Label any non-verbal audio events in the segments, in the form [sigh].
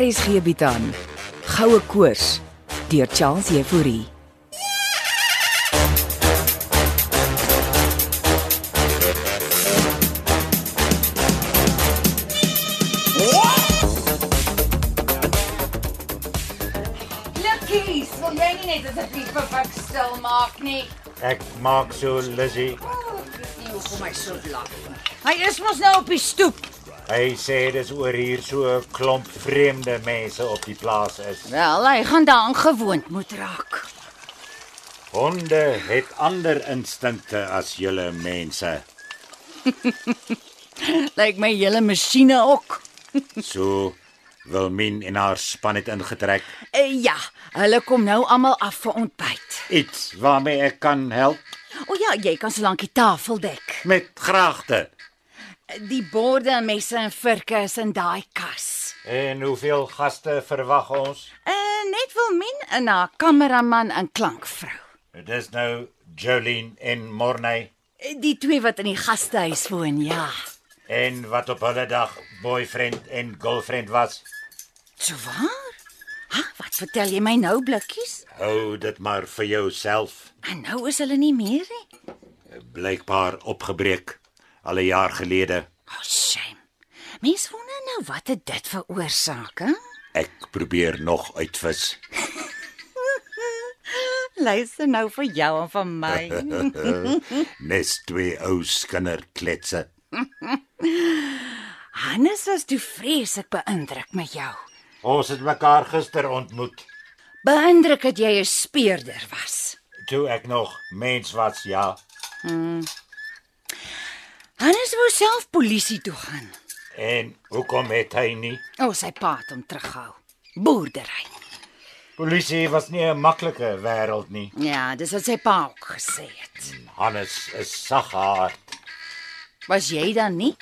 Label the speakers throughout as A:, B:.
A: RSG bied aan Goue Koors deur Charles Euphorie.
B: Likkies, wil jy nie net asseblief vir Buck stil maak nie?
C: Ek maak so Lizzy.
B: Nie hoekom hy so lag nie. Hy is mos nou op die stoep.
C: Hy sê dis oor hier so 'n klomp vreemde mense op die plaas is.
B: Wel, hy gaan daaraan gewoond moet raak.
C: Honde het ander instinkte as julle mense.
B: Lyk my hele masjiene ook.
C: So Wilmien en haar span het ingetrek.
B: Uh, ja, hulle kom nou almal af vir ontbyt.
C: Iets waarmee ek kan help
B: O ja, jy kan solank die tafel dek.
C: met graagte.
B: Die borde en messe en vurke is in daai kas.
C: En hoeveel gaste verwag ons?
B: Uh, net wil min en haar kameraman en klankvrou.
C: Dis nou Jolene en Morney
B: Eh, Die twee wat in die gastehuis woon, ja.
C: en wat op hulle dag boyfriend en girlfriend was.
B: So waar? Ha, wat vertel jy my nou blikkies?
C: Hou dit maar vir jouself.
B: En nou is hulle nie meer nie.
C: blykbaar opgebreek al 'n jaar gelede.
B: Oh, shame. Mens wonder nou wat het dit veroorsaak, hè?
C: Ek probeer nog uitvis.
B: Luister nou vir jou en vir my.
C: Nes twee ou skinder kletse.
B: Hannes was toe vreeslik beïndruk met jou.
C: Ons het mekaar gister ontmoet
B: Beïndruk dat jy 'n speurder was.
C: toe ek nog mens was, ja.
B: Hannes wou self polisie toe gaan.
C: En hoekom het hy nie?
B: O, oh, sy pa het hom terughou. Boerdery.
C: Polisie was nie 'n maklike wêreld nie.
B: Ja, dis wat sy pa ook gesê het.
C: Hannes is saggaard.
B: Was jy dan nie?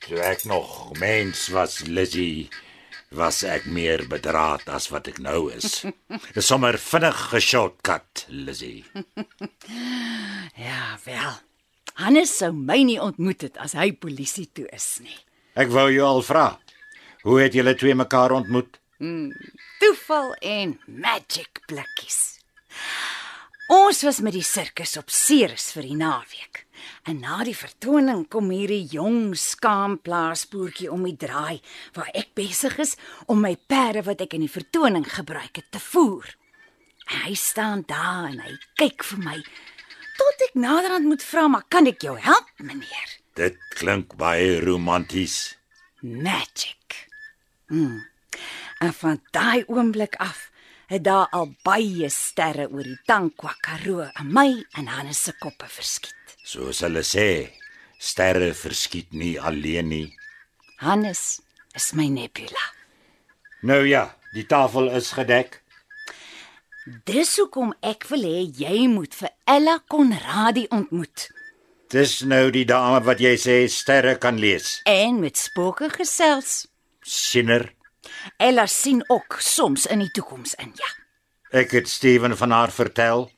C: Toe ek nog mens was, Lizzy, was ek meer bedraad as wat ek nou is. Dis sommer vinnig geshotkat, Lizzy.
B: Ja, wel. Hannes sou my nie ontmoet het as hy polisie toe is nie.
C: Ek wou jou al vra. Hoe het julle twee mekaar ontmoet?
B: toeval en magic blikkies. Ons was met die sirkus op Ceres vir die naweek. En na die vertoning kom hierdie jong skaam plaasboertjie om die draai waar ek besig is om my perde wat ek in die vertoning gebruik het te voer. En hy staan daar en hy kyk vir my tot ek naderhand moet vra, "Maar kan ek jou help, meneer?"
C: Dit klink baie romanties.
B: Magic. Hmm. En van daai oomblik af het daar al baie sterre oor die Tankwa Karoo in my en Hannes se koppe verskiet.
C: Soos hulle sê, sterre verskiet nie alleen nie.
B: Hannes is my nebula.
C: Nou ja, die tafel is gedek.
B: Dis hoekom ek wil hê jy moet vir Ella Konradi ontmoet
C: Dis nou die dame wat jy sê sterre kan lees.
B: en met spooke gesels.
C: Sinner.
B: Ella sien ook soms in die toekoms in, ja.
C: Ek het Steven van haar vertel.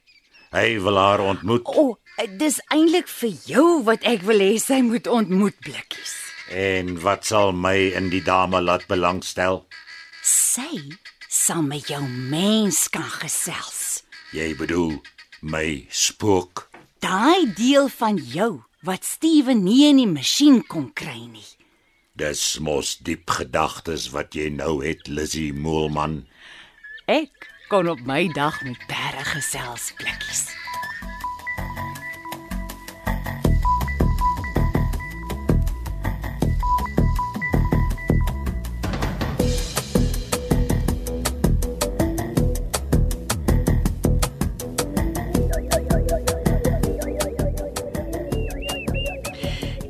C: Hy wil haar ontmoet
B: O, oh, dis eintlik vir jou wat ek wil hê sy moet ontmoet blikkies.
C: en wat sal my in die dame laat belangstel?
B: Sy sal met jou mens kan gesels.
C: Jy bedoel my spook.
B: Daai deel van jou wat Steven nie in die masjien kon kry nie.
C: Dis mos diep gedagtes wat jy nou het, Lizzy Moelman.
B: Ek kon op my dag met perde gesels blikkies.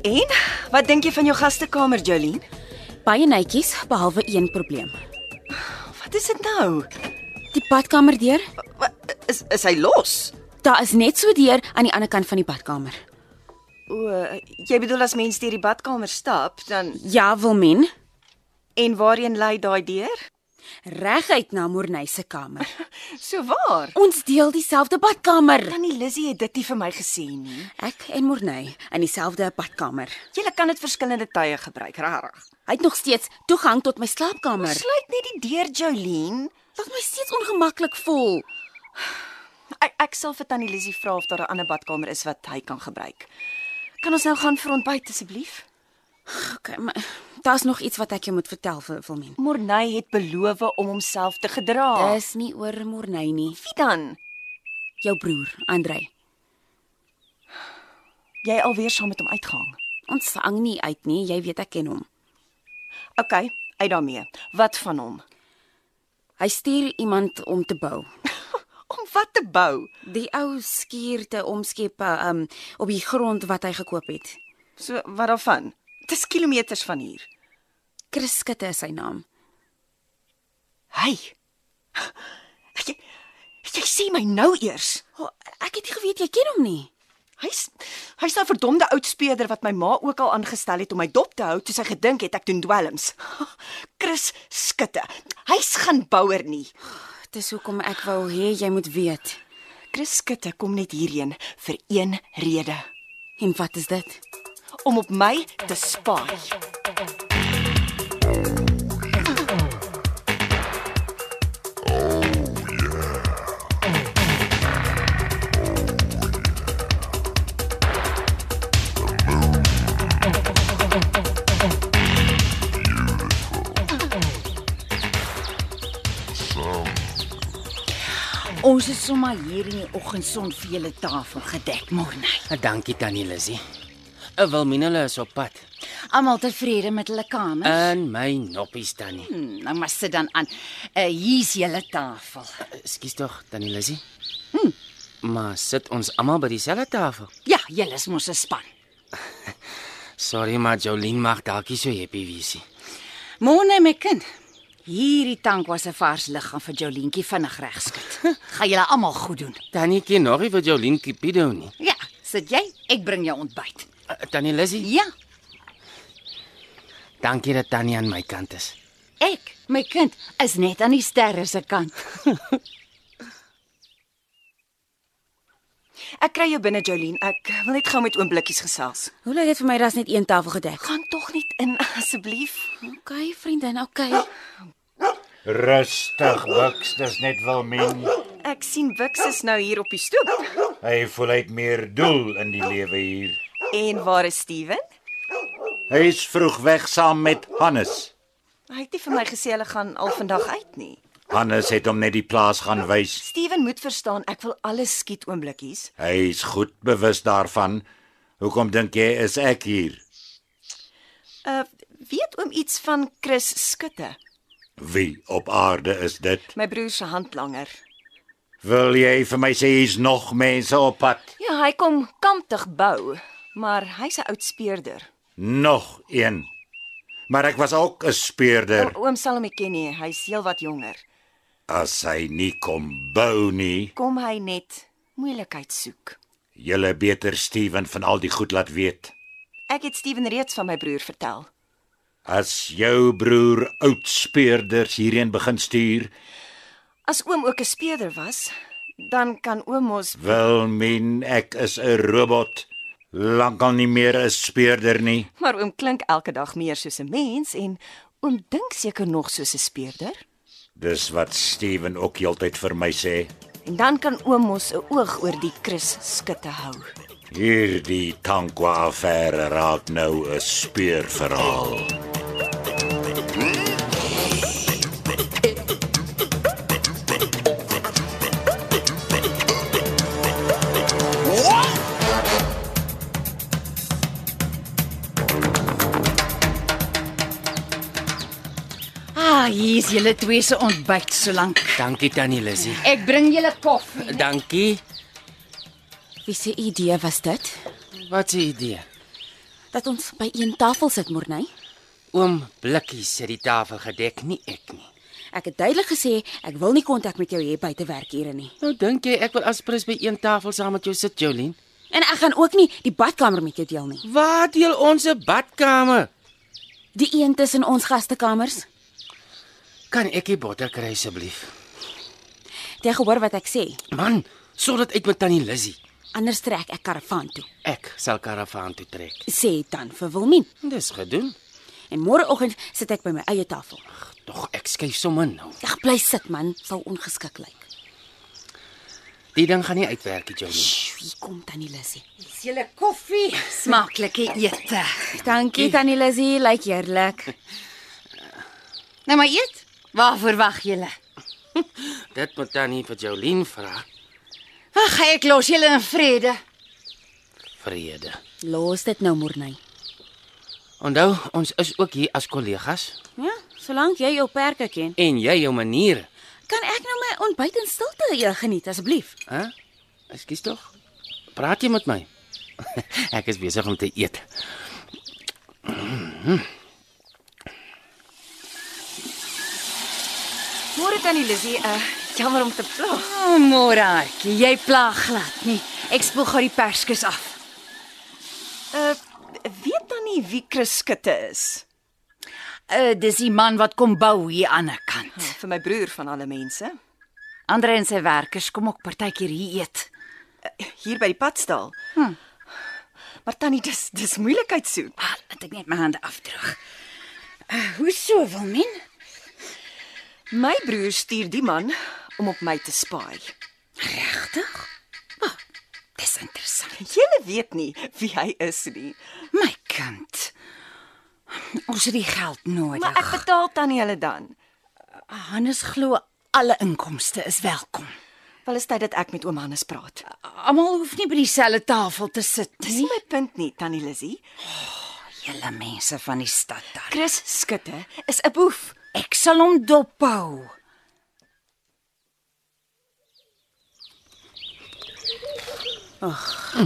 D: En wat dink jy van jou gastekamer, Jolien?
E: Baie netjies behalwe een probleem.
D: Wat is dit nou?
E: Die badkamer deur,
D: Wa- Is is hy los?
E: daar is net so deur aan die ander kant van die badkamer.
D: O, jy bedoel as mens deur die badkamer stap, dan
E: Ja, Wilmen,
D: en waarheen lei daai deur?
B: reguit na Morney se kamer.
D: So waar?
B: Ons deel dieselfde badkamer.
D: Tannie Lizzy het dit nie vir my gesê nie.
B: Ek en Morney in dieselfde badkamer.
D: Jy kan dit verskillende tye gebruik, regtig.
B: Hy het nog steeds toegang tot my slaapkamer.
D: Sluit net die deur, Jolene.
B: Laat my steeds ongemaklik voel.
D: Ek ek sal vir Tannie Lizzy vra of daar 'n ander badkamer is wat hy kan gebruik. Kan ons nou gaan vir ontbyt asseblief?
B: Okay, maar daar's nog iets wat ek jou moet vertel vir Wilmien.
D: Morney het beloof om homself te gedra.
B: Dis nie oor Morney nie.
D: wie dan?
B: Jou broer, Andrei.
D: Jy alweer saam met hom uitgehang.
B: Ons hang nie uit nie, jy weet ek ken hom.
D: OK, uit daarmee. Wat van hom?
B: Hy stuur iemand om te bou.
D: Om wat te bou?
B: Die ou skuur te omskep um op die grond wat hy gekoop het.
D: So wat daarvan? Dis kilometers van hier.
B: Chris Skutte is sy naam.
D: Hey. Jy, jy sien my nou eers.
B: Oh, ek het nie geweet jy ken hom nie.
D: Hy's hy's daai verdomde oud speeder wat my ma ook al aangestel het om my dop te hou toe sy gedink het ek doen dwelms. [laughs] Chris skutte. Hy's gaan bouer nie.
B: Dis hoekom ek wou hê jy moet weet.
D: Chris skutte kom net hierheen vir een rede,
B: En wat is dit?
D: om op my te spaai.
F: Ons het sommer hier in die oggendson vir julle tafel gedek, Morney.
G: Ah, Dankie tannie Lizzy. Uh, Wilmien hulle is op pad.
F: Almal tevrede met hulle kamers.
G: In my noppies tannie.
F: Hmm,
B: Mm,
F: nou maar sit dan aan. Uh, hier's julle tafel.
G: Ekskuus tog tannie Lizzy.
F: Hmm.
G: Hm. Maar sit ons almal by dieselfde tafel.
F: Ja, julle is mos 'n span.
G: Sorry maar Jolien mag dalk nie so happy wees nie.
F: Môre my kind. Hierdie tank was 'n vars liggaam vir Jolientjie vinnig regskit. Gaan julle almal goed doen.
G: Tannie ken nog nie vir Jolien Cupido nie.
F: Ja, sit jy? Ek bring jou ontbyt.
G: Uh, tannie Lizzy,
F: Ja,
G: dankie dat tannie aan my kant is.
F: ek, my kind, is net aan die sterre se kant.
D: Ek kry jou binne Jolene. Ek wil net gou met oom Blikkies gesels.
B: Hoe lyk dit vir my daar's net een tafel gedek?
D: Gaan tog net in [laughs] asseblief.
B: Okay, vriendin, okay.
C: Rustig, Bucks, dis net Wilmien.
D: Ek sien Wix is nou hier op die stoep.
C: Hy voel hy het meer doel in die lewe hier.
D: En waar is Steven?
C: Hy is vroeg weg saam met Hannes.
D: Hy het nie vir my gesê hulle gaan al vandag uit nie.
C: Hannes het hom net die plaas gaan wys.
D: Steven moet verstaan, ek wil alles skiet oom Blikkies.
C: Hy is goed bewus daarvan. Hoekom dink jy is ek hier?
D: Uh weet oom iets van Chris Skutte,
C: Wie op aarde is dit?
D: my broer se handlanger?
C: Wil jy vir my sê hier's nog mense op pad?
D: Ja, hy kom kamptig bou, maar hy's 'n oud speurder.
C: Nog een. Maar ek was ook 'n speurder.
D: O, oom sal hom nie ken nie, hy's heelwat jonger.
C: As hy nie kom bou nie,
D: Kom hy net moeilikheid soek.
C: julle beter Steven van al die goed laat weet.
D: Ek het Steven reeds van my broer vertel.
C: As jou broer oud speurders hierheen begin stuur,
D: As oom ook 'n speurder was, dan kan oom mos
C: wil men ek is 'n robot. Lankal nie meer 'n speurder nie.
D: Maar oom klink elke dag meer soos 'n mens en oom dink seker nog soos 'n speurder.
C: Dis wat Steven ook heeltyd vir my sê.
D: En dan kan oom mos 'n oog oor die Chris skutte hou.
C: Hierdie Tankwa affære raak nou 'n speurverhaal.
F: Ah, hier's julle twee se ontbyt solank.
G: Dankie tannie Lizzy. Eh,
F: Ek bring julle koffie.
G: Dankie.
B: Wie se idee was dit?
G: Wat 'n idee.
B: Dat ons by een tafel sit, Morney?
G: Oom Blikkies het die tafel gedek, nie ek nie.
B: Ek het duidelik gesê ek wil nie kontak met jou hê buite werkure nie.
G: Nou dink jy ek wil aspres by een tafel saam met jou sit, Jolien?
B: En ek gaan ook nie die badkamer met jou deel nie.
G: Waar deel ons 'n badkamer?
B: Die een tussen ons gastekamers.
G: Kan ek die botter kry asseblief?
E: Jy gehoor wat ek sê.
G: Man, sort dit uit met tannie Lizzy.
E: Anders trek ek karavaan toe.
G: Ek sal karavaan toe trek.
E: Sê dan vir Wilmien.
G: Dis gedoen.
E: En môreoggend sit ek by my eie tafel.
G: Tog ek skuif sommer nou.
E: Ag bly sit man, sal ongeskik lyk.
G: Die ding gaan nie uitwerk, nie, Johnny.
E: Sjoe, Hier kom tannie Lissy.
B: Dis julle koffie, smaaklike ete.
E: Dankie tannie Lissy, lyk heerlik.
B: Nou maar eet. Waarvoor wag julle?
G: Dit moet tannie vir Jolien vra.
B: Ag, ek los julle in vrede.
G: Vrede.
E: Los dit nou Morney.
G: Onthou, ons is ook hier as kollegas
E: Ja, solank jy jou perke ken,
G: en jy jou maniere,
E: kan ek nou my ontbyt in stilte eh, geniet asseblief.
G: hè? Ekskuus tog. Praat jy met my? [laughs] ek is besig om te eet.
D: Môre tannie Lizzie, uh, jammer om te pla.
B: O, oh, Moraatjie, jy plaag glad nie. Ek spoeg gou die perskus af.
D: Uh, weet tannie wie Chris Skutte is?
B: Uh, dis die man wat kom bou hier aan die kant.
D: Vir my broer van alle mense,
B: Andre en sy werkers kom ook partykeer hier eet.
D: hier by die padstal. Hm. Maar tannie, dis dis moeilikheid soek.
B: Ah, laat ek net my hande afdroog. Uh, hoe so, Wilmin?
D: My broer stuur die man om op my te spaai.
B: Regtig? Oh, dis interessant.
D: Jy weet nie wie hy is nie.
B: My kind. Ons het die geld nodig.
D: Maar ek betaal tannie hulle dan.
B: Hannes glo alle inkomste is welkom.
D: Wel is tyd dat ek met oom Hannes praat.
B: Almal hoef nie by dieselfde tafel te sit
D: Dis nie my punt nie, tannie Lizzie.
B: Julle mense van die stad daar.
D: Chris Skutte is 'n boef.
B: Ek sal hom dophou.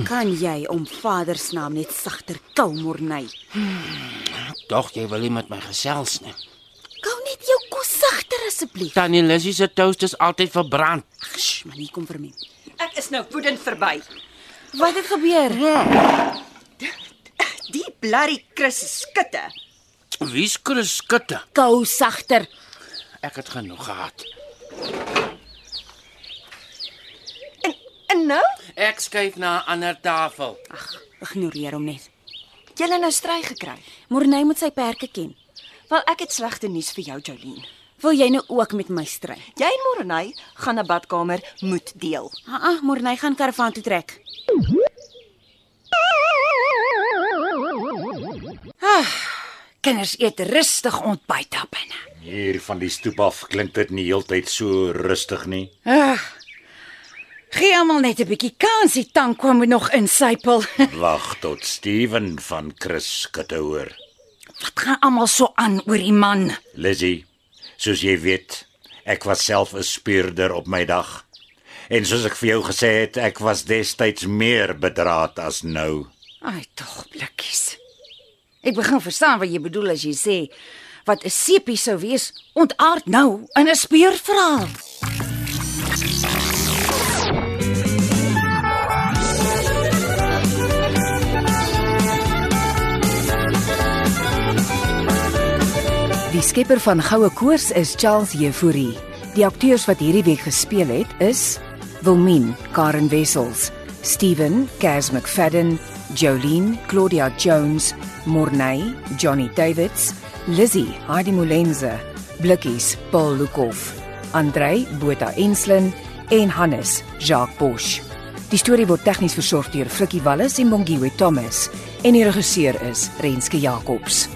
E: Kan jy om Vader se naam net sagter kou Morney?
G: Tog jy wil nie met my gesels nie.
E: Kou net jou kos sagter asseblief.
G: Tannie Lissy se toast is altyd verbrand.
E: Ag, sh, man, hier kom vir my.
D: Ek is nou woedend verby.
E: Wat het gebeur?
D: Die blerrie Chris Skutte.
G: Wie's Chris Skutte?
E: Kou sagter.
G: Ek het genoeg gehad.
D: En en nou?
G: Ek skuif na 'n ander tafel.
E: Ag, ignoreer hom net.
D: Jy het nou stry gekry.
E: Morney moet sy perke ken.
D: Wel ek het slegte nuus vir jou, Jolene.
E: Wil jy nou ook met my stry?
D: Jy en Morney gaan na badkamer moet deel.
E: Ah, ah Morney gaan karavaan toe trek.
B: Ah, Kinders eet rustig ontbyt daar binne.
C: Hier van die stoep af klink dit nie heeltyd so rustig nie.
B: Ag. Gee almal net 'n bietjie kans, die tank kwam nog insypel.
C: Wag tot Steven van Chris Skutte hoor.
B: [laughs] Wat gaan almal so aan oor die man?
C: Lizzy, soos jy weet, ek was self 'n speurder op my dag. En soos ek vir jou gesê het, ek was destyds meer bedraad as nou.
B: Ai tog, blikkies. Ek begin verstaan wat jy bedoel as jy sê wat 'n sepie sou wees, ontaard nou in 'n speurverhaal.
A: Die skepper van Goue Koors is Charles Jefouri. Die akteurs wat hierdie week gespeel het is Wilmien Karen Wessels, Steven Cas McFadden, Jolene Claudia Jones, Morney Johnny Davids, Lizzie Heidi Molenze, Blikkies Paul Lukhof, Andrei Botha Enslin en Hannes Jacques Bosch. Die storie word tegnies versorg deur Frikkie Wallis en Bongwe Thomas en die regisseur is Renske Jacobs.